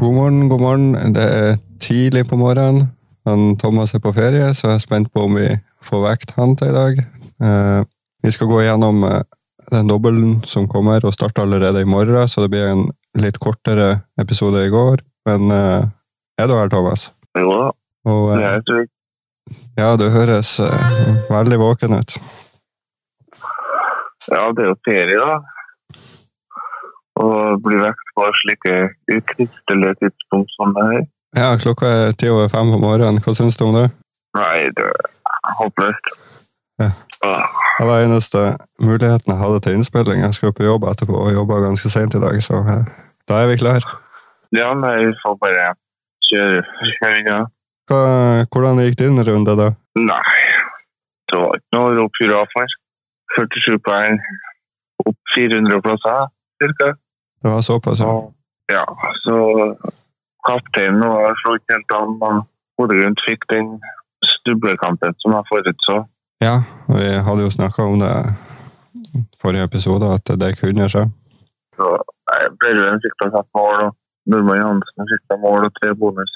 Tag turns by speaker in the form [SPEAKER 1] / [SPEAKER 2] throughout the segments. [SPEAKER 1] morgen, god morgen. Det er tidlig på morgenen. Han Thomas er på ferie, så jeg er spent på om vi får vekt han til i dag. Eh, vi skal gå gjennom eh, den dobbelen som kommer og starter allerede i morgen, så det blir en litt kortere episode i går. Men eh, er du her, Thomas?
[SPEAKER 2] Jo da,
[SPEAKER 1] Og,
[SPEAKER 2] det
[SPEAKER 1] eh,
[SPEAKER 2] er slik.
[SPEAKER 1] ja, du høres eh, veldig våken ut.
[SPEAKER 2] Ja, det er jo ferie, da. Og bli vekk på slike ukristelige tidspunkt som det her.
[SPEAKER 1] Ja, klokka er ti over fem på morgenen. Hva syns du om det?
[SPEAKER 2] Nei, det er håpløst.
[SPEAKER 1] Ja.
[SPEAKER 2] Ah,
[SPEAKER 1] Det var eneste muligheten jeg hadde til innspilling. Jeg skal på jobb etterpå og jobber ganske sent i dag, så eh, da er vi klar.
[SPEAKER 2] Ja, nei, vi får bare kjøre kjøre unna.
[SPEAKER 1] Hva, hvordan gikk din runde, da?
[SPEAKER 2] Nei, det var ikke noe å rope hurra for. 47 poeng, opp 400 plasser, cirka.
[SPEAKER 1] Det var såpass, ja.
[SPEAKER 2] Ja, så kapteinen var slo ikke helt an, men Bodø-Glimt fikk den stublekampen som jeg forutså.
[SPEAKER 1] Ja, vi hadde jo snakka om det i forrige episode, at det kunne skje.
[SPEAKER 2] Så nei, Børven fikk da satt mål, og Nordmann Hansen fikk da mål og tre bonus.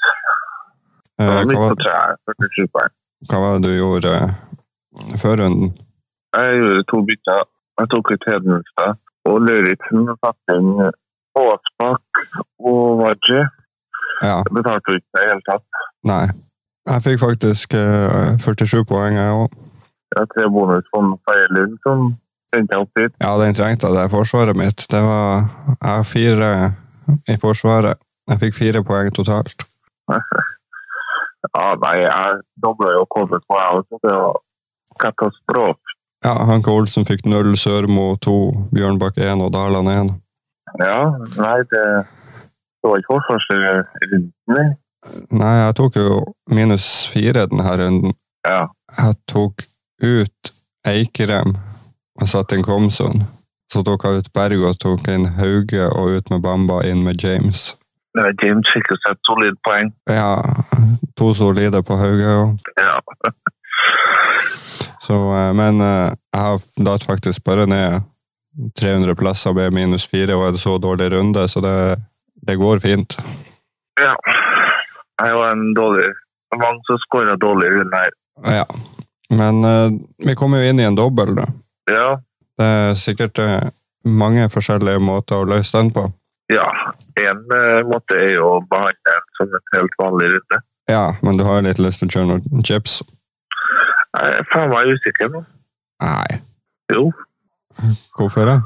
[SPEAKER 2] Det
[SPEAKER 1] Eh,
[SPEAKER 2] var midt
[SPEAKER 1] Hva,
[SPEAKER 2] på treet, 47 poeng.
[SPEAKER 1] hva var det du gjorde eh, før runden?
[SPEAKER 2] Jeg gjorde to bytter. Jeg tok ut Hedenstad og Løritzen og satte inn Aasbakk og Waji.
[SPEAKER 1] Ja,
[SPEAKER 2] Det betalte jo ikke seg i det hele tatt.
[SPEAKER 1] nei. Jeg fikk faktisk eh, 47 poeng, jeg òg.
[SPEAKER 2] Jeg har tre bonus på Feierlund som sendte jeg opp dit.
[SPEAKER 1] Ja, den trengte jeg. Det er forsvaret mitt. Det var Jeg har fire eh, i forsvaret. Jeg fikk fire poeng totalt.
[SPEAKER 2] Ja, nei, jeg dobla jo KBK, jeg også. Det var katastrofe.
[SPEAKER 1] Ja, Hanke Olsen fikk null, Sørmo to, Bjørnbakk én og Daland én.
[SPEAKER 2] Ja, nei, det, det var ikke forsvarsrunden, nei.
[SPEAKER 1] Nei, jeg tok jo minus fire denne runden.
[SPEAKER 2] Ja.
[SPEAKER 1] Jeg tok ut Eikrem og satte inn Komson. Så tok jeg ut Berg og tok inn Hauge og ut med Bamba inn med James.
[SPEAKER 2] Nei, James fikk jo seg et solid poeng.
[SPEAKER 1] Ja, to solide på Hauge òg.
[SPEAKER 2] Ja.
[SPEAKER 1] Så, eh, men eh, jeg har datt faktisk bare ned 300 plasser med minus fire og en så dårlig runde, så det, det går fint.
[SPEAKER 2] ja. Jeg var en dårlig det var Mange som skåra dårlig i den her.
[SPEAKER 1] Ja. Men eh, vi kommer jo inn i en dobbel, da.
[SPEAKER 2] Ja,
[SPEAKER 1] Det er sikkert eh, mange forskjellige måter å løse den på.
[SPEAKER 2] Ja, en eh, måte er jo å behandle den som et helt vanlig rute.
[SPEAKER 1] Ja, men du har jo litt lyst til å kjøre noen chips?
[SPEAKER 2] Jeg er faen meg usikker nå.
[SPEAKER 1] Nei.
[SPEAKER 2] Jo,
[SPEAKER 1] Hvorfor det?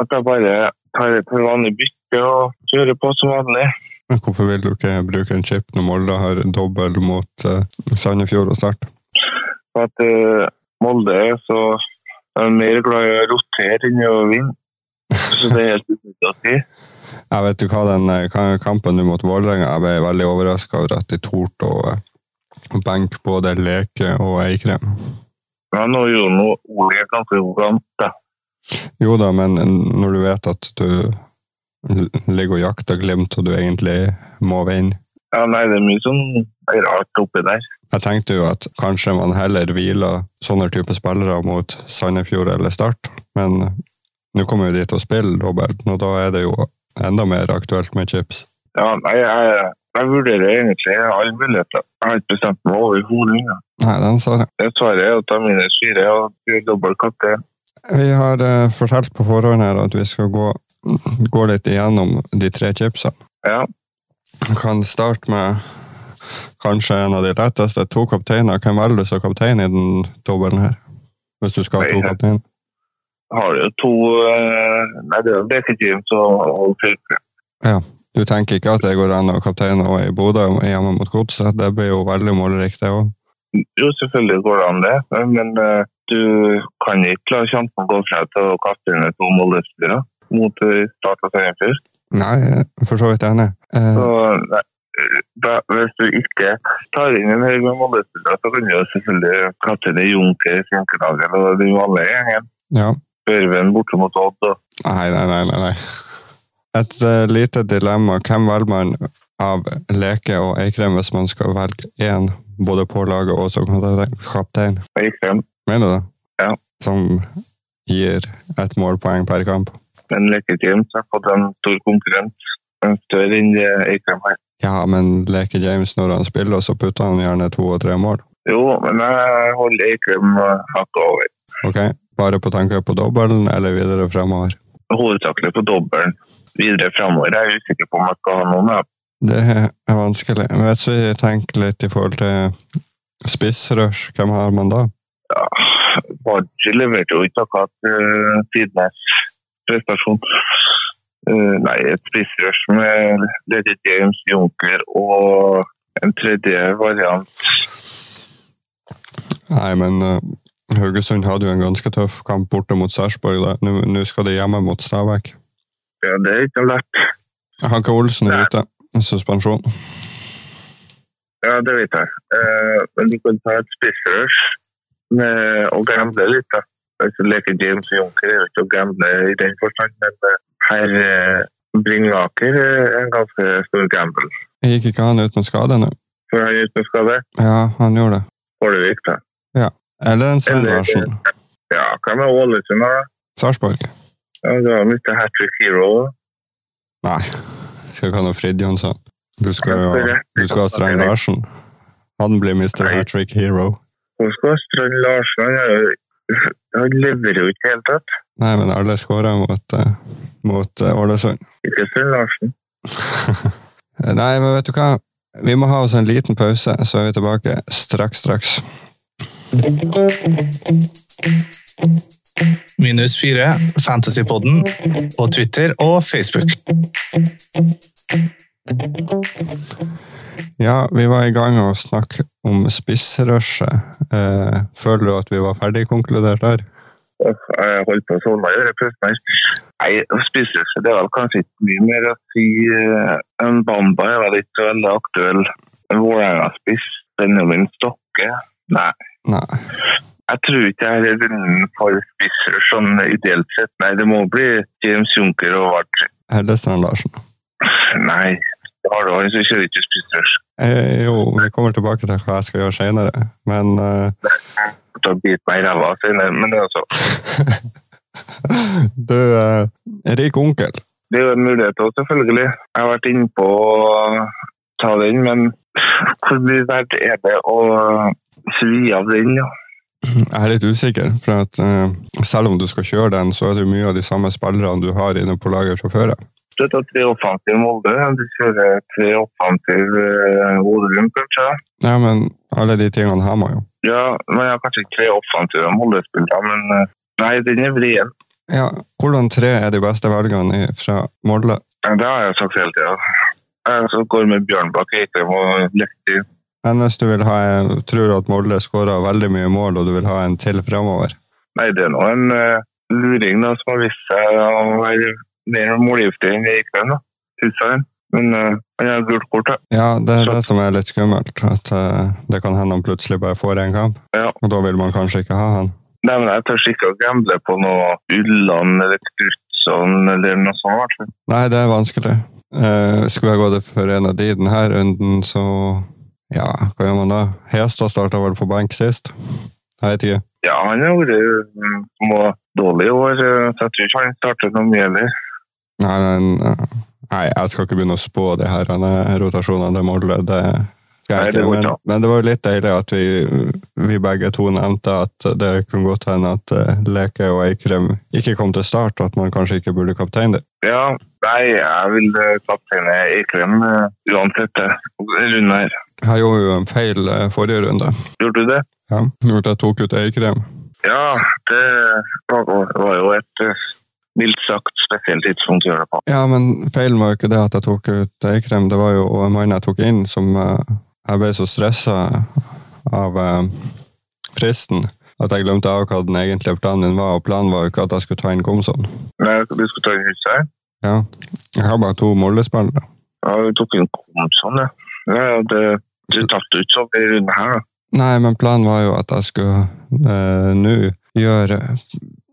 [SPEAKER 2] at jeg bare tar et vanlig bytte og kjører på som vanlig.
[SPEAKER 1] Men Hvorfor vil du ikke bruke en chip når Molde har dobbel mot eh, Sandefjord og Start?
[SPEAKER 2] For at eh, Molde er så er mer glad i å rotere enn i å vinne. Så det er helt unyttig å si.
[SPEAKER 1] Jeg vet jo hva den eh, ka- kampen nå mot Vålerenga Jeg ble veldig overraska over at de torde å eh, benke både Leke og Eikrem.
[SPEAKER 2] Men nå gjorde noe Ole ganske arrogant, da.
[SPEAKER 1] Jo da, men når du vet at du l- ligger og jakter Glimt, og du egentlig må vinne
[SPEAKER 2] Ja, nei, det er mye som er rart oppi der.
[SPEAKER 1] Jeg tenkte jo at kanskje man heller hviler sånne type spillere mot Sandefjord eller Start, men eh, nå kommer jo de til å spille dobbelt, og da er det jo enda mer aktuelt med chips.
[SPEAKER 2] Ja, nei, jeg, jeg vurderer egentlig alle muligheter. Jeg har ikke bestemt meg overhodet. ennå.
[SPEAKER 1] Nei, den sa jeg.
[SPEAKER 2] Det svaret er å ta minus fire og gjøre dobbel kaptein.
[SPEAKER 1] Vi har eh, fortalt på forhånd her at vi skal gå, gå litt igjennom de tre chipsene.
[SPEAKER 2] Ja.
[SPEAKER 1] Vi Kan starte med kanskje en av de letteste. To kapteiner. Hvem velger du som kaptein i den dobbelen her? Hvis du skal ha to
[SPEAKER 2] Nei,
[SPEAKER 1] kapteiner?
[SPEAKER 2] Har jo to eh, Nei, det er jo Beke James og og Fylke.
[SPEAKER 1] Du tenker ikke at det går an å kapteine og i Bodø hjemme mot Godset? Det blir jo veldig målrikt, det òg.
[SPEAKER 2] Jo, selvfølgelig går det an, det. Men eh, du kan ikke la sjansen gå fra til å kaste inn to målespillere mot eh, Start og Sandefjord.
[SPEAKER 1] Nei, jeg er for så vidt enig. Eh,
[SPEAKER 2] Så nei, da, hvis du ikke tar inn en haug med målespillere, så kan du jo selvfølgelig kaste inn Junker, Sjenkenagel og de vanlige gjengen.
[SPEAKER 1] ja.
[SPEAKER 2] Børven borte mot Odd. og-
[SPEAKER 1] Nei, nei, nei, nei. nei. Et eh, lite dilemma. Hvem velger man av Leke og Eikrem hvis man skal velge én, både på laget og som kaptein?
[SPEAKER 2] og gikk frem.
[SPEAKER 1] Mener du det?
[SPEAKER 2] Ja.
[SPEAKER 1] Som gir ett målpoeng per kamp.
[SPEAKER 2] Men Leke James har fått en stor konkurrent. en større enn det Eikrem har.
[SPEAKER 1] Ja, men leker James når han spiller, så putter han gjerne to og tre mål.
[SPEAKER 2] Jo, men jeg holder Eikrem hakket over.
[SPEAKER 1] Ok? Bare på tanke på dobbelen eller videre fremover.
[SPEAKER 2] Hovedsakelig på dobbelen. Videre fremover jeg er jeg usikker på om jeg skal ha noen. ja.
[SPEAKER 1] Det er vanskelig. Men vet du, jeg tenker litt i forhold til spissrush. Hvem har man da?
[SPEAKER 2] Ja, Bardi leverte jo ikke akkurat uh, tidenes prestasjon. Eh, nei, et spissrush med Lady James Junker og en tredje variant
[SPEAKER 1] Nei, men eh, Haugesund hadde jo en ganske tøff kamp borte mot Sarpsborg. da. Nå nå skal de hjemme mot Stabæk.
[SPEAKER 2] Ja, det er ikke lett.
[SPEAKER 1] Hanke Olsen er ute. Suspensjon.
[SPEAKER 2] Ja, det vet jeg. Eh, men du kan ta et spissrush med- og gamble litt. da. Altså, Leke James Junker er jo ikke å gamble i den forstand, men eh, herr eh, Bringaker er en ganske stor gamble.
[SPEAKER 1] Gikk ikke han ut med skade nå?
[SPEAKER 2] For han er uten skade,
[SPEAKER 1] Ja, han gjorde det.
[SPEAKER 2] Ålevik, da.
[SPEAKER 1] Eller en Svein Larsen.
[SPEAKER 2] Ja, hva med Ålesund, da?
[SPEAKER 1] Sarpsborg.
[SPEAKER 2] Ja, du har mistet hat trick hero.
[SPEAKER 1] Nei, skal ikke ha noe Fridtjonsson. Du skal jo du skal ha Strand Larsen. Han blir Mr. Hat Trick Hero.
[SPEAKER 2] Hvor skal Strand Larsen? Han er jo- Han leverer jo ikke i det hele tatt.
[SPEAKER 1] Nei, men alle skårer mot, eh, mot eh, Ålesund.
[SPEAKER 2] Ikke Strand Larsen.
[SPEAKER 1] Eh, Nei, men vet du hva? Vi må ha oss en liten pause, så er vi tilbake straks, straks.
[SPEAKER 3] Minus 4, Fantasypodden, på Twitter og Facebook.
[SPEAKER 1] Ja, vi var i gang å snakke om spissrushet. Eh, føler du at vi var ferdigkonkludert der?
[SPEAKER 2] Åh, Jeg holdt på å sovne i det plutselig. her. Nei, spisselse, det er vel kanskje ikke mye mer å si. eh, En Bamba er vel ikke så veldig aktuell. En Vålerenga-spiss, Benjamin Stokke. Nei.
[SPEAKER 1] Nei.
[SPEAKER 2] Jeg tror ikke jeg er runden for spissere sånn ideelt sett. Nei, det må bli James Junker og Vart.
[SPEAKER 1] Helle Strand Larsen.
[SPEAKER 2] Nei, det har du han som kjører ikke spissere.
[SPEAKER 1] Eh, jo, vi kommer tilbake til hva jeg skal gjøre senere, men eh,
[SPEAKER 2] Da biter meg i ræva senere. Men altså,
[SPEAKER 1] Du, eh, rik onkel.
[SPEAKER 2] Det er jo en mulighet også, selvfølgelig. Jeg har vært inne på å ta den, men hvor mye verdt er det å svi av den? Ja?
[SPEAKER 1] Jeg er litt usikker, for at eh, selv om du skal kjøre den, så er det jo mye av de samme spillerne du har inne på laget av sjåfører.
[SPEAKER 2] Du tar tre offensive Molde, du kjører tre offensive eh, Bodø-Glimt, kanskje?
[SPEAKER 1] Ja, men alle de tingene har man jo.
[SPEAKER 2] Ja, men jeg har kanskje ikke tre offensive Molde-spillere, men eh, nei, den er vrien.
[SPEAKER 1] Ja, hvordan tre er de beste valgene i- fra Molde?
[SPEAKER 2] Ja, Det har jeg sagt hele tida. Jeg så går med Bjørnbakk, Eikrem og Lekti.
[SPEAKER 1] Men hvis du vil ha en, tror at Molde skårer veldig mye mål, og du vil ha en til fremover
[SPEAKER 2] Nei, det er nå en eh, luring da, som har vist seg å være mer målgiftig enn det gikk den, da, synes jeg. Men eh, han har gult kort, da.
[SPEAKER 1] Ja, det er
[SPEAKER 2] Så-
[SPEAKER 1] det som er litt skummelt. At eh, det kan hende han plutselig bare får en kamp.
[SPEAKER 2] Ja.
[SPEAKER 1] Og da vil man kanskje ikke ha han.
[SPEAKER 2] Nei, men jeg tør ikke å gamble på noe Ulland eller Knutson eller noe sånt. i hvert fall.
[SPEAKER 1] Nei, det er vanskelig. Eh, skulle jeg gå det for en av de i denne runden, så Ja, hva gjør man da? Hestad starta vel på benk sist? Jeg vet ikke.
[SPEAKER 2] Ja, han har vært mm, små dårlig i år, eh, så jeg tror ikke han starter noe mye heller.
[SPEAKER 1] Nei, men eh, Nei, jeg skal ikke begynne å spå de her eh, rotasjonene til Molde. Det skal
[SPEAKER 2] Nei,
[SPEAKER 1] jeg
[SPEAKER 2] det
[SPEAKER 1] ikke.
[SPEAKER 2] går
[SPEAKER 1] Men,
[SPEAKER 2] ikke an.
[SPEAKER 1] men det var jo litt deilig at vi, vi begge to nevnte at det kunne godt hende at eh, Leke og Eikrem ikke kom til start, og at man kanskje ikke burde kapteine det.
[SPEAKER 2] Ja, nei, jeg vil eh, kapteine Eikrem eh, uansett det. Runden her.
[SPEAKER 1] Jeg gjorde jo en feil eh, forrige runde.
[SPEAKER 2] Gjorde du det?
[SPEAKER 1] Ja. Gjorde at jeg tok ut Eikrem.
[SPEAKER 2] Ja, det var, var jo et eh, mildt sagt spesielt tidspunkt å gjøre det på.
[SPEAKER 1] Ja, men feilen var jo ikke det at jeg tok ut eikrem. Det var jo en mann jeg tok inn som eh, Jeg ble så stressa av eh, fristen at jeg glemte av hva den egentlige planen min var, og planen var jo ikke at jeg skulle ta inn Komson.
[SPEAKER 2] Nei, du skulle ta inn huset her.
[SPEAKER 1] Ja. Jeg har bare to Molde-spillere.
[SPEAKER 2] Ja, du tok inn Komson, ja. ja ja, det, du tatt ut sånn i runden her, da.
[SPEAKER 1] Nei, men planen var jo at jeg skulle eh, nå gjøre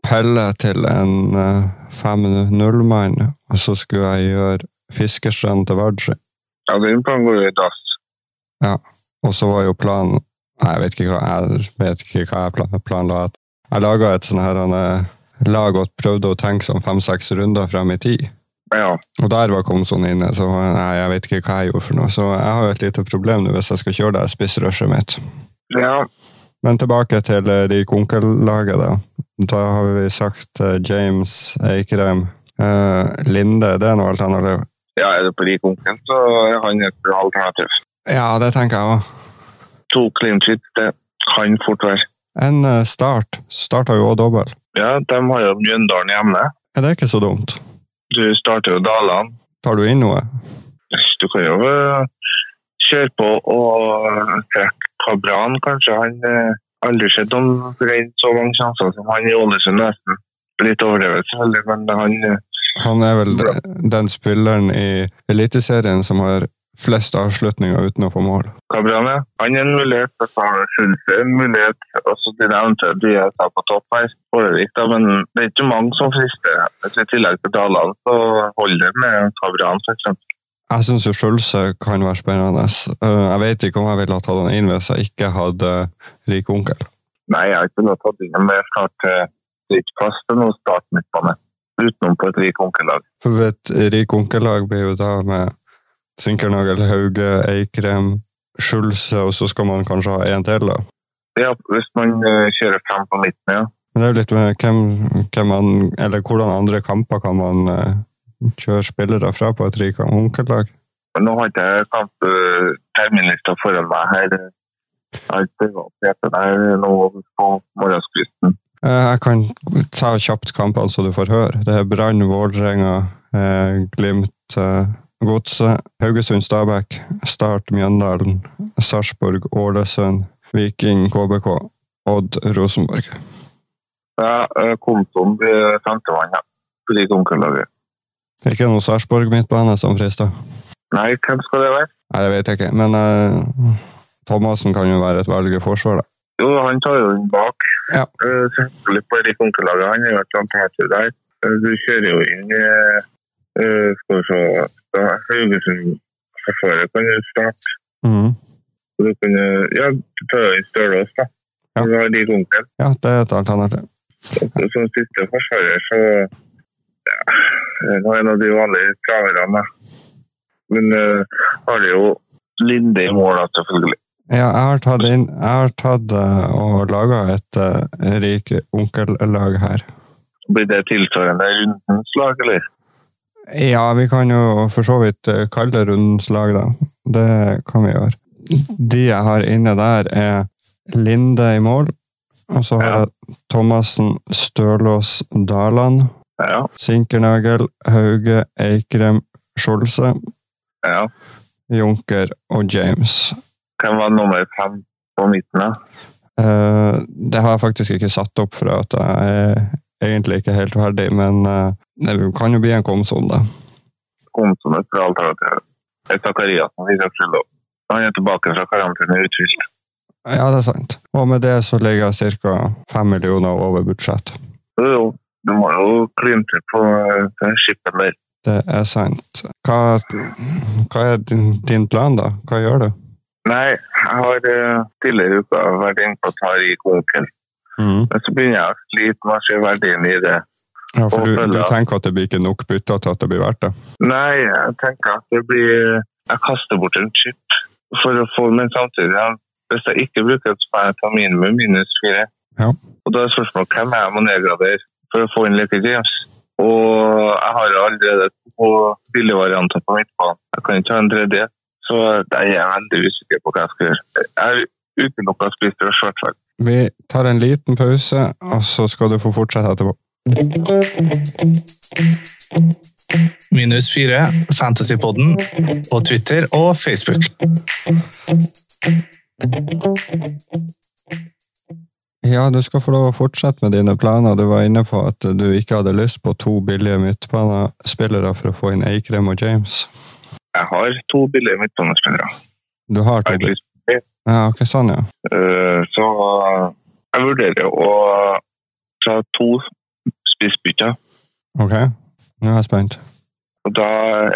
[SPEAKER 1] Pelle til en eh, 5-0-mann, og så skulle jeg gjøre Fiskerstrand til Vardø.
[SPEAKER 2] Ja, den planen går jo i dass.
[SPEAKER 1] Og så var jo planen Nei, jeg vet ikke hva jeg, vet ikke hva jeg plan, planla. at- Jeg laga et sånn her han, eh, lag og prøvde å tenke sånn fem-seks runder frem i tid.
[SPEAKER 2] Ja.
[SPEAKER 1] Og der var konsoen inne, så nei, jeg vet ikke hva jeg gjorde for noe. Så jeg har jo et lite problem nå hvis jeg skal kjøre det spissrushet mitt.
[SPEAKER 2] ja.
[SPEAKER 1] Men tilbake til eh, de konkellaget, da. Da har vi sagt eh, James Eikrem. Eh, Linde, det er noe alternativ.
[SPEAKER 2] Ja, er det på de konken, så er han et bra alternativ.
[SPEAKER 1] Ja, det tenker jeg òg.
[SPEAKER 2] To clean sheet, det kan fort være.
[SPEAKER 1] En eh, start. Starta jo òg dobbel.
[SPEAKER 2] Ja, de har jo Mjøndalen hjemme.
[SPEAKER 1] Er det ikke så dumt?
[SPEAKER 2] Du starter jo Dalane.
[SPEAKER 1] Tar du inn noe?
[SPEAKER 2] Du kan jo eh, kjøre på og trekke Kabran, kanskje. Han eh, aldri sett om rein så mange sjanser som han i Ålesund nesten. Litt overdrevet, selvfølgelig, men han eh,
[SPEAKER 1] Han er vel
[SPEAKER 2] Bra.
[SPEAKER 1] den spilleren i Eliteserien som har flest avslutninger uten å få mål.
[SPEAKER 2] Kabran, ja. Han er en mulighet, og så har Schulze en mulighet. Altså, Og så de nevnte de jeg sa på topp her, Ålevik, da, men det er ikke mange som frister. Så I tillegg til Dalane, så holder det med Kabran, f.eks.
[SPEAKER 1] Jeg syns jo Skjølse kan være spennende. Eh, Jeg vet ikke om jeg ville ha tatt han inn hvis jeg ikke hadde rik onkel.
[SPEAKER 2] Nei, jeg har ikke lov til å begynne med klart eh, det er ikke plass til noe start midtbane. Utenom på et rik onkellag.
[SPEAKER 1] For et rik onkellag blir jo da med Sinkernagel, Hauge, Eikrem, Skjølse, og så skal man kanskje ha en til, da.
[SPEAKER 2] Ja, hvis man eh, kjører frem på midten, ja.
[SPEAKER 1] Men det er jo litt med hvem, hvem man Eller hvordan andre kamper kan man eh, kjøre spillere fra på et rik onkellag?
[SPEAKER 2] Men nå har ikke jeg kamp, eh, terminlista foran meg her. Jeg har ikke valgt det her nå på morgenskvisten.
[SPEAKER 1] Eh, Jeg kan ta kjapt kampene så du får høre. Det er Brann, Vålerenga, eh, Glimt, eh, Godset, Haugesund, Stabæk, Start, Mjøndalen, Sarpsborg, Ålesund, Viking, KBK, Odd, Rosenborg.
[SPEAKER 2] Ja, eh, kontoen blir femtemann, ja. På rik onkellaget.
[SPEAKER 1] Det er ikke noe Sarpsborg midtbane som frister.
[SPEAKER 2] Nei, hvem skal det være?
[SPEAKER 1] Nei, det vet jeg ikke, men eh, Thomassen kan jo være et velg i forsvar, da.
[SPEAKER 2] Jo, han tar jo den bak.
[SPEAKER 1] Ja.
[SPEAKER 2] Eh, Selvfølgelig på Erik Onkelaget. Han er jo et alternativ der. Eh, Du kjører jo inn eh, eh, Skal vi se da, Haugesund-forsvaret kan jo starte.
[SPEAKER 1] Mhm.
[SPEAKER 2] Du kan eh, ja, du tar jo inn Stølås, da.
[SPEAKER 1] Ja.
[SPEAKER 2] Du har Erik Onkel.
[SPEAKER 1] Ja, det er et alternativ.
[SPEAKER 2] Og Som siste forsvarer, så ja, eh, Nå er en av de vanlige traverne, da. Men uh, har det jo Linde i mål, da, selvfølgelig.
[SPEAKER 1] Ja, jeg har tatt, inn, jeg har tatt eh, og laga et eh, rik onkellag her.
[SPEAKER 2] Blir det tilsvarende rundens lag, eller?
[SPEAKER 1] Ja, vi kan jo for så vidt eh, kalle det rundens lag, da. Det kan vi gjøre. De jeg har inne der, er Linde i mål. Og så har
[SPEAKER 2] Ja.
[SPEAKER 1] jeg Thomassen, Stølås, Daland,
[SPEAKER 2] Ja,
[SPEAKER 1] Sinkernagel, Hauge, Eikrem, Skjolse,
[SPEAKER 2] ja.
[SPEAKER 1] Junker og James.
[SPEAKER 2] Hvem var nummer fem på midten? da?
[SPEAKER 1] Eh, det har jeg faktisk ikke satt opp for at jeg er egentlig ikke helt ferdig, men eh, det kan jo bli en komson, da.
[SPEAKER 2] Kom som et bra alternativ. Zakariassen viser skyld opp. Han er tilbake fra karantene uthvilt.
[SPEAKER 1] Ja, det er sant. Og med det så ligger jeg ca. 5 millioner over budsjett.
[SPEAKER 2] Jo, jo, du må jo klynte på eh, det skipet der.
[SPEAKER 1] Det er sant. Hva, hva er din, din plan, da? Hva gjør du?
[SPEAKER 2] Nei, jeg har eh, tidligere i uka vært inne på å ta i konken. Men så begynner jeg å slite med å se verdien i det.
[SPEAKER 1] Ja, for
[SPEAKER 2] Og
[SPEAKER 1] du,
[SPEAKER 2] følge
[SPEAKER 1] du
[SPEAKER 2] av.
[SPEAKER 1] tenker at det blir ikke nok bytter til at det blir verdt det?
[SPEAKER 2] Nei, jeg tenker at det blir Jeg kaster bort en chip for å få Men samtidig. ja, Hvis jeg ikke bruker den, så får jeg ta minimum minus fire.
[SPEAKER 1] Ja.
[SPEAKER 2] Og da er spørsmålet hvem jeg må nedgradere for å få inn Leke James. Og jeg har jo allerede to billigvarianter på midtbanen. Jeg kan ikke ha en tredje. Så jeg er veldig usikker på hva jeg skal gjøre. Jeg er utelukka spist og svart vel.
[SPEAKER 1] Vi tar en liten pause, og så skal du få fortsette etterpå.
[SPEAKER 3] Minus fire, Fantasypodden på Twitter og Facebook.
[SPEAKER 1] Ja, du skal få lov å fortsette med dine planer. Du var inne på at du ikke hadde lyst på to billige midtbanespillere for å få inn Eikrem og James.
[SPEAKER 2] Jeg har to billige midtbanespillere.
[SPEAKER 1] Du har
[SPEAKER 2] Jeg
[SPEAKER 1] to
[SPEAKER 2] har ikke
[SPEAKER 1] billige?
[SPEAKER 2] lyst på det.
[SPEAKER 1] Ja, ok, sånn, ja.
[SPEAKER 2] Eh, Så jeg vurderer å ta to spissbytter.
[SPEAKER 1] Ok, nå er jeg spent.
[SPEAKER 2] Og da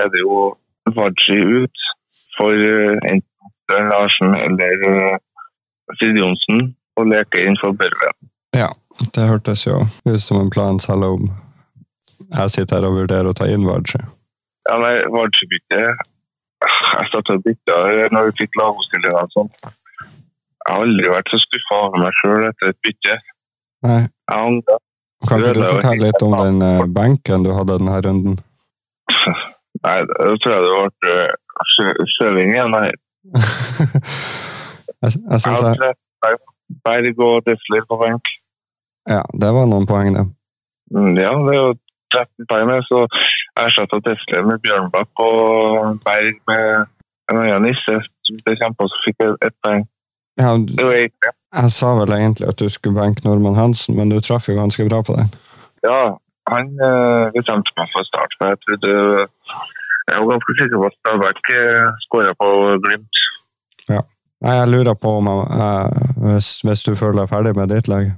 [SPEAKER 2] er det jo Vaji ut for eh, enten Stein Larsen eller eh, Sid Johnsen og leke inn for Børven.
[SPEAKER 1] Det hørtes jo ut som en plan, selv om jeg sitter her og vurderer å ta inn Vardø.
[SPEAKER 2] Ja, nei, Vardø-bytte Jeg satt og bytta når vi fikk lagoppstillinga og sånn. Jeg har aldri vært så skuffa over meg sjøl etter et bytte.
[SPEAKER 1] Nei.
[SPEAKER 2] Jeg angrer.
[SPEAKER 1] Kan ikke du
[SPEAKER 2] Det er jo helt
[SPEAKER 1] fortelle litt om den eh, benken du hadde denne runden?
[SPEAKER 2] Nei, da tror jeg det ble eh, sjø- sjøling igjen. Nei,
[SPEAKER 1] jeg s- jeg synes
[SPEAKER 2] jeg
[SPEAKER 1] jeg
[SPEAKER 2] hadde Berg- Berg og Desler på benk.
[SPEAKER 1] Ja, det var noen poeng, det.
[SPEAKER 2] Mm, Ja, det er jo 13 poeng, med, så erstatta Tesla med Bjørnbakk og Berg med en annen nisse. Det kjempa så fikk jeg ett poeng.
[SPEAKER 1] Ja, du-
[SPEAKER 2] Det var ikke.
[SPEAKER 1] jeg sa vel egentlig at du skulle benke Norman Hansen, men du traff jo ganske bra på den.
[SPEAKER 2] Ja, han eh, bestemte meg for start, for jeg trodde eh, Jeg var ganske sikker på at Stabæk skåra på Glimt.
[SPEAKER 1] Nei, jeg lurer på om jeg, eh, hvis, hvis du føler deg ferdig med ditt lag.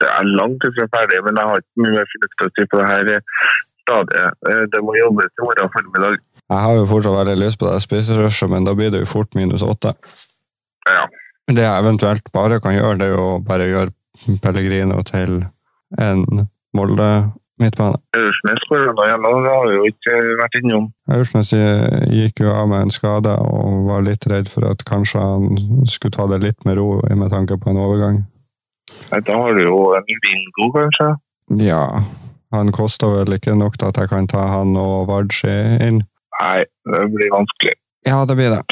[SPEAKER 2] Det er langt ifra ferdig, men jeg har ikke mye mer fornuft å si på det her eh, stadiet. Eh, Det må jobbes i morgen formiddag.
[SPEAKER 1] Jeg har jo fortsatt veldig lyst på det spiserushet, men da blir det jo fort minus åtte.
[SPEAKER 2] Ja.
[SPEAKER 1] Det jeg eventuelt bare kan gjøre, det er jo å bare gjøre Pellegrino til en Molde midtbane.
[SPEAKER 2] Aursnes skåra nå igjen, og det har vi jo ikke vært innom.
[SPEAKER 1] Aursnes i- gikk jo av med en skade og var litt redd for at kanskje han skulle ta det litt med ro med tanke på en overgang.
[SPEAKER 2] Nei, Da har du jo en bingo, kanskje.
[SPEAKER 1] Ja, han koster vel ikke nok til at jeg kan ta han og Vardsi inn.
[SPEAKER 2] Nei, det blir vanskelig.
[SPEAKER 1] Ja, det blir det.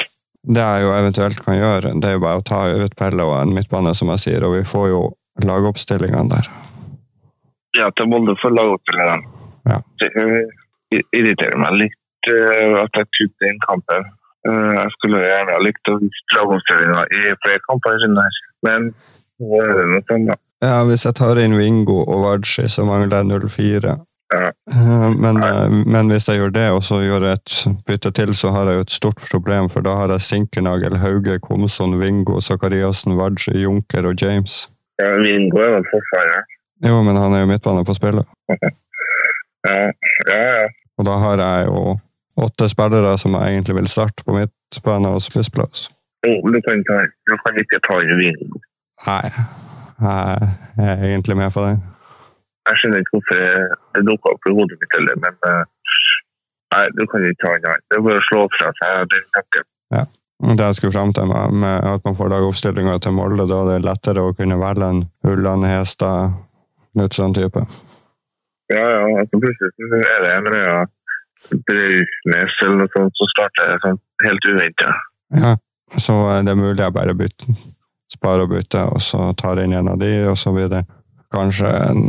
[SPEAKER 1] Det jeg jo eventuelt kan gjøre, det er jo bare å ta ut Pelle og en midtbane, som jeg sier, og vi får jo lagoppstillingene der.
[SPEAKER 2] Ja, til Molde for lagoppstillerne.
[SPEAKER 1] Ja.
[SPEAKER 2] Det eh, i- irriterer meg litt eh, at jeg kutter inn kampen. Eh, jeg skulle gjerne ha likt å vise lagoppstillinga i flere kamper, siden her. men nå er det noe sånn, da.
[SPEAKER 1] Ja, hvis jeg tar inn Vingo og Vardsi, så mangler jeg 04.
[SPEAKER 2] Ja.
[SPEAKER 1] Eh, Men, eh, men hvis jeg gjør det, og så gjør jeg et bytte til, så har jeg jo et stort problem, for da har jeg Sinkernagel, Hauge, Komson, Vingo, Sakariassen, Vardsi, Junker og James.
[SPEAKER 2] Ja, Vingo er vel forsvarer.
[SPEAKER 1] Jo, men han er jo midtbane på spillet.
[SPEAKER 2] Ja, ja. ja.
[SPEAKER 1] Og da har jeg jo åtte spillere som jeg egentlig vil starte på midtbane og spissplass.
[SPEAKER 2] Jo, du, kan ta, du kan ikke ta inn Vingo.
[SPEAKER 1] Nei, jeg er egentlig med på den.
[SPEAKER 2] Jeg skjønner ikke hvorfor det dukka opp i hodet mitt heller, men eh, Nei, du kan ikke ta inn han. Det er bare å slå fra seg den tanken.
[SPEAKER 1] Det jeg skulle frem til med, med at man får lagoppstillinga til Molde, da det er lettere å kunne velge en Ulland, Hestad, sånn Knutson-type.
[SPEAKER 2] Ja, ja. Altså, plutselig så er det en eller annen Brausnes eller noe sånt som starter det sånn helt uventa.
[SPEAKER 1] Ja. Så eh, det er mulig jeg bare bytter. sparer og bytter, og så tar jeg inn en av de, og så blir det kanskje en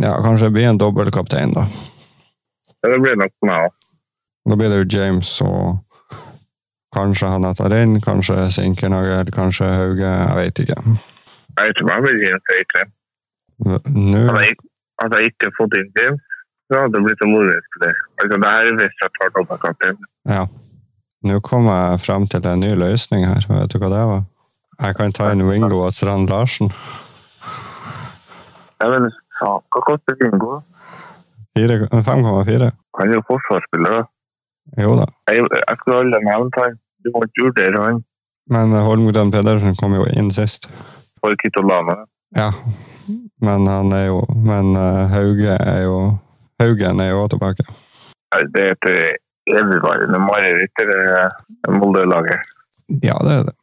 [SPEAKER 1] Ja, kanskje det blir en dobbeltkaptein, da.
[SPEAKER 2] Ja, det blir nok meg òg.
[SPEAKER 1] Da blir det jo James og Kanskje han jeg tar inn, kanskje Sinkernagel, kanskje Hauge, jeg vet ikke.
[SPEAKER 2] Jeg vet ikke om jeg blir James Eikrem.
[SPEAKER 1] Nå
[SPEAKER 2] Hadde jeg ikke- hadde jeg ikke fått inn James, så hadde det blitt en morospiller. Altså, det her er hvis jeg tar dobbeltkampen.
[SPEAKER 1] Nå kom jeg frem til en ny løsning her. Vet du hva det var? Jeg kan ta inn Wingo og Strand Larsen.
[SPEAKER 2] Ja, men faen, hva koster Bingo?
[SPEAKER 1] Fire- 5,4.
[SPEAKER 2] Han er jo forsvarsspiller, da.
[SPEAKER 1] Jo da.
[SPEAKER 2] Jeg, jeg skulle aldri nevnt han. Du må ikke vurdere han
[SPEAKER 1] Men eh, Holmgren Pedersen kom jo inn sist.
[SPEAKER 2] for Kitolana.
[SPEAKER 1] Ja. Men han er jo Men eh, Hauge er jo Haugen er jo også tilbake.
[SPEAKER 2] Nei, Det er et evigvarende mareritt, det der, eh, Molde-laget.
[SPEAKER 1] Ja, det er det.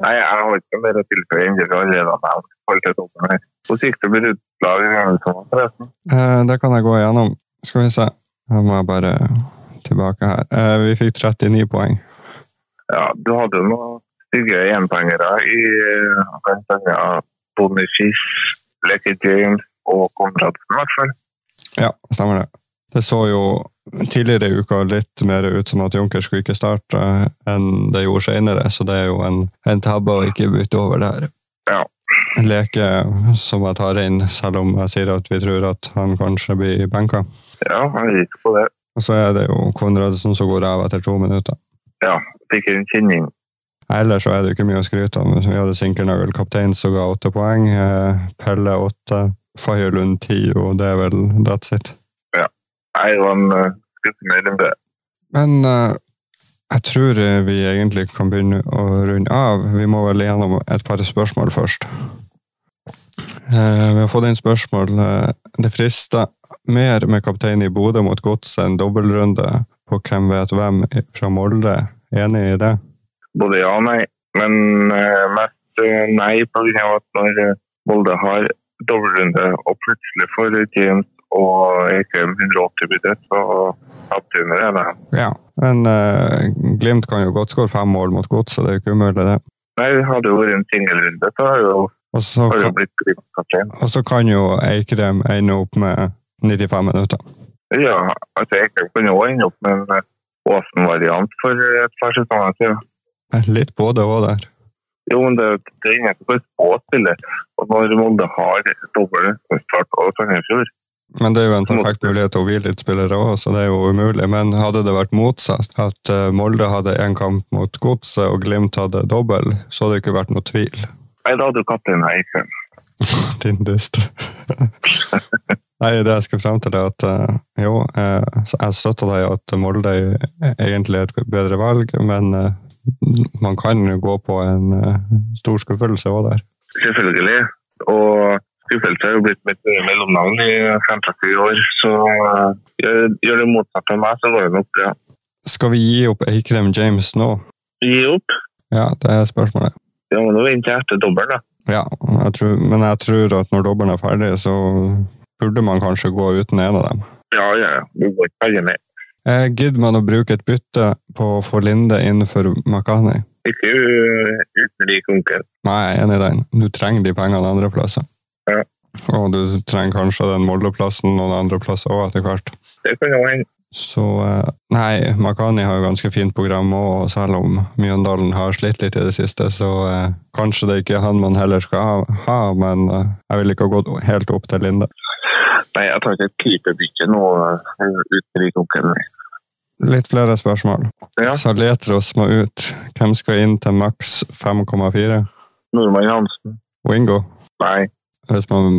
[SPEAKER 2] Nei, jeg har ikke mer å tilføye enn det vi allerede har nevnt. i forhold til dommeren her. På sikte blir utlaget i Rønnesson, forresten.
[SPEAKER 1] Eh, det kan jeg gå igjennom. Skal vi se. Nå må jeg bare tilbake her. Eh, vi fikk 39 poeng.
[SPEAKER 2] Ja, du hadde jo noen stygge enpoengere i eh, blant annet Bonicis, Lecky James og Konradsen, i hvert fall.
[SPEAKER 1] Ja, stemmer det. Det så jo tidligere i uka litt mer ut som at Junker skulle ikke starte eh, enn det gjorde senere, så det er jo en, en tabbe å ikke bytte over der.
[SPEAKER 2] Ja.
[SPEAKER 1] Leke som jeg tar inn, selv om jeg sier at vi tror at han kanskje blir benka.
[SPEAKER 2] Ja, han gikk på det.
[SPEAKER 1] Og så er det jo Konradsen som går av etter to minutter.
[SPEAKER 2] Fikk en kjenning.
[SPEAKER 1] Ellers så er det jo ikke mye å skryte av. Vi hadde Sinkernagel kaptein som ga åtte poeng, eh, Pelle åtte, Fagerlund ti, og det er vel that's it.
[SPEAKER 2] Nei, det var en eh, skuffende runde.
[SPEAKER 1] Men eh, jeg tror eh, vi egentlig kan begynne å runde av. Vi må vel gjennom et par spørsmål først. Eh, vi har fått inn spørsmål. eh, det frister mer med kaptein i Bodø mot gods enn dobbeltrunde på hvem vet hvem fra Molde. Enig i det?
[SPEAKER 2] Både ja og nei. Men eh, mest eh, nei på grunn av at når eh, Molde har dobbeltrunde og plutselig får James og Eikrem 180 budsjett, så tapte vi med det. da.
[SPEAKER 1] Ja. Men eh, Glimt kan jo godt skåre fem mål mot Godset, det er jo ikke umulig, det.
[SPEAKER 2] Nei, det hadde jo vært en singelrunde, så har jo,
[SPEAKER 1] Og så
[SPEAKER 2] har jo
[SPEAKER 1] kan,
[SPEAKER 2] blitt Glimt-kaptein.
[SPEAKER 1] og så kan jo Eikrem ende opp med 95 minutter.
[SPEAKER 2] Ja, altså Eikrem kunne også ende opp med en eh, Åsen-variant for et par sesonger siden.
[SPEAKER 1] Eh, Litt både og der.
[SPEAKER 2] Jo, men det, det er ingen som kan spå spillet. Og når Molde har dobbel start og Sandefjord
[SPEAKER 1] Men det er jo en perfekt mulighet til å hvile litt spillere òg, så det er jo umulig. Men hadde det vært motsatt, at eh, Molde hadde én kamp mot Godset og Glimt hadde dobbel, så hadde det ikke vært noe tvil.
[SPEAKER 2] Nei, da hadde jo kapteinen Eikrem.
[SPEAKER 1] Din dust. Nei, det jeg skal frem til, er at eh, jo, eh, så jeg støtter deg i at Molde er egentlig er et bedre valg, men eh, man kan jo gå på en eh, stor skuffelse òg der.
[SPEAKER 2] Selvfølgelig. Og skuffelse har jo blitt mitt nye mellomnavn i 25 år, så eh, gjør, gjør det motsatt av meg, så går det nok bra.
[SPEAKER 1] Skal vi gi opp Eikrem James nå?
[SPEAKER 2] Gi opp?
[SPEAKER 1] Ja, det er spørsmålet.
[SPEAKER 2] Ja, men nå venter jeg etter dobbel, da.
[SPEAKER 1] Ja, jeg tror, men jeg tror at når dobbelen er ferdig, så burde man kanskje gå uten en av dem.
[SPEAKER 2] Ja, ja, ja. Vi går ikke ferdig med
[SPEAKER 1] Eh, Gidder man å bruke et bytte på å få Linde innenfor Makani?
[SPEAKER 2] Ikke eh, uten lik onkel.
[SPEAKER 1] Nei, jeg er enig i den. Du trenger de pengene andre plasser.
[SPEAKER 2] Ja.
[SPEAKER 1] Og du trenger kanskje den Molde-plassen noen andre plasser òg etter hvert.
[SPEAKER 2] Det kan jo hende.
[SPEAKER 1] Så eh, nei, Makani har jo ganske fint program òg, og selv om Mjøndalen har slitt litt i det siste, så eh, kanskje det ikke er han man heller skal ha, ha men eh, jeg ville ikke ha gått helt opp til Linde.
[SPEAKER 2] Nei, jeg tar ikke et pipebytte nå eh, uten lik onkel.
[SPEAKER 1] Litt flere spørsmål.
[SPEAKER 2] Ja.
[SPEAKER 1] Saletros må ut. Hvem skal inn til maks 5,4?
[SPEAKER 2] Nordmann Hansen.
[SPEAKER 1] Wingo,
[SPEAKER 2] Nei.
[SPEAKER 1] hvis man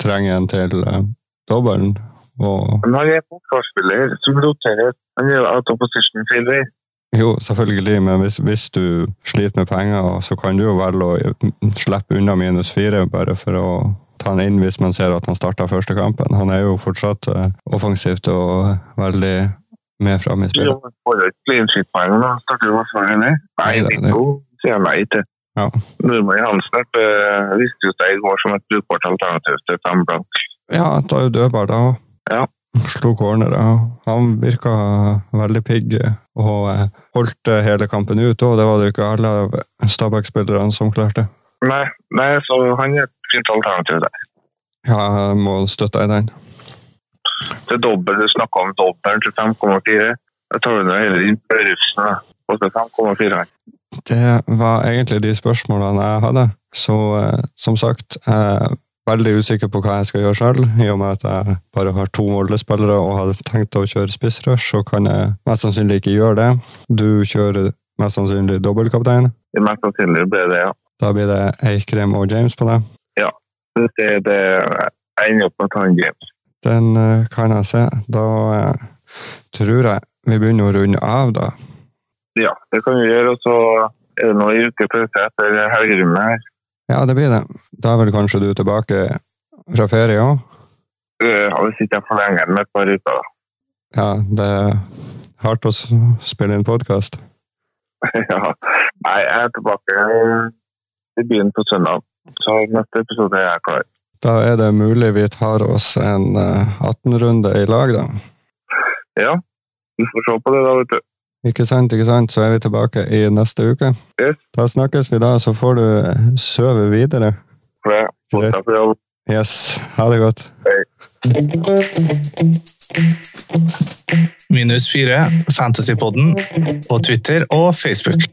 [SPEAKER 1] trenger en til eh, dobbelen. Og
[SPEAKER 2] Men han er en forsvarsspiller som roterer. Han gjør out of position til vei.
[SPEAKER 1] jo, selvfølgelig, men hvis, hvis du sliter med penger, så kan du jo velge å eh, slippe unna minus fire, bare for å ta han inn hvis man ser at han starter første kampen. Han er jo fortsatt eh, offensivt og eh, veldig med fram i spillet.
[SPEAKER 2] Får jo ikke clean sheet-poeng nå. Starter jo forsvaret, eller? Nei,
[SPEAKER 1] Nei, det er det.
[SPEAKER 2] Nico sier jeg nei til.
[SPEAKER 1] Ja.
[SPEAKER 2] Nordmann Hansen eh, viste jo seg i går som et brukbart alternativ til fem blank.
[SPEAKER 1] Ja, han tar jo dødball da òg.
[SPEAKER 2] Ja.
[SPEAKER 1] Slo cornere. Han virka veldig pigg og eh, holdt eh, hele kampen ut. Og det var det jo ikke alle av Stabæk-spillerne som klarte.
[SPEAKER 2] Nei, nei, så han er et fint alternativ der.
[SPEAKER 1] Ja, jeg må støtte deg i den.
[SPEAKER 2] Det er dobbelt, du snakket om dobbelt til 5,4. Da tar du nå heller inn Børufsen, da. Og så 5,4.
[SPEAKER 1] Det var egentlig de spørsmålene jeg hadde. Så eh, som sagt, jeg er veldig usikker på hva jeg skal gjøre sjøl. I og med at jeg bare har to målespillere og hadde tenkt å kjøre spissrush, så kan jeg mest sannsynlig ikke gjøre det. Du kjører mest sannsynlig dobbeltkaptein.
[SPEAKER 2] Det mest sannsynlig blir det, ja.
[SPEAKER 1] Da blir det Eikrem og James på det.
[SPEAKER 2] Hvis Det er det jeg ender opp med å ta en James.
[SPEAKER 1] Den eh, kan jeg se. Da eh, tror jeg vi begynner å runde av, da.
[SPEAKER 2] Ja, det kan vi gjøre. Og så er det nå en uke pause etter helgerommet her.
[SPEAKER 1] Ja, det blir det. Da er vel kanskje du tilbake fra ferie òg?
[SPEAKER 2] Eh, Hvis ikke jeg forlenger den med et par uker, da.
[SPEAKER 1] Ja, det er hardt å s- spille inn podkast.
[SPEAKER 2] ja. Nei, jeg er tilbake i byen på søndag. Så neste episode er jeg klar.
[SPEAKER 1] Da er det mulig vi tar oss en eh, 18-runde i lag, da.
[SPEAKER 2] Ja, vi får se på det da, vet du.
[SPEAKER 1] Ikke sant, ikke sant? Så er vi tilbake i neste uke.
[SPEAKER 2] Yes.
[SPEAKER 1] Da snakkes vi da, så får du eh, sove videre.
[SPEAKER 2] For det er fortsatt på jobb.
[SPEAKER 1] Yes. Ha det godt.
[SPEAKER 3] Minus 4, Fantasypodden på Twitter og Facebook.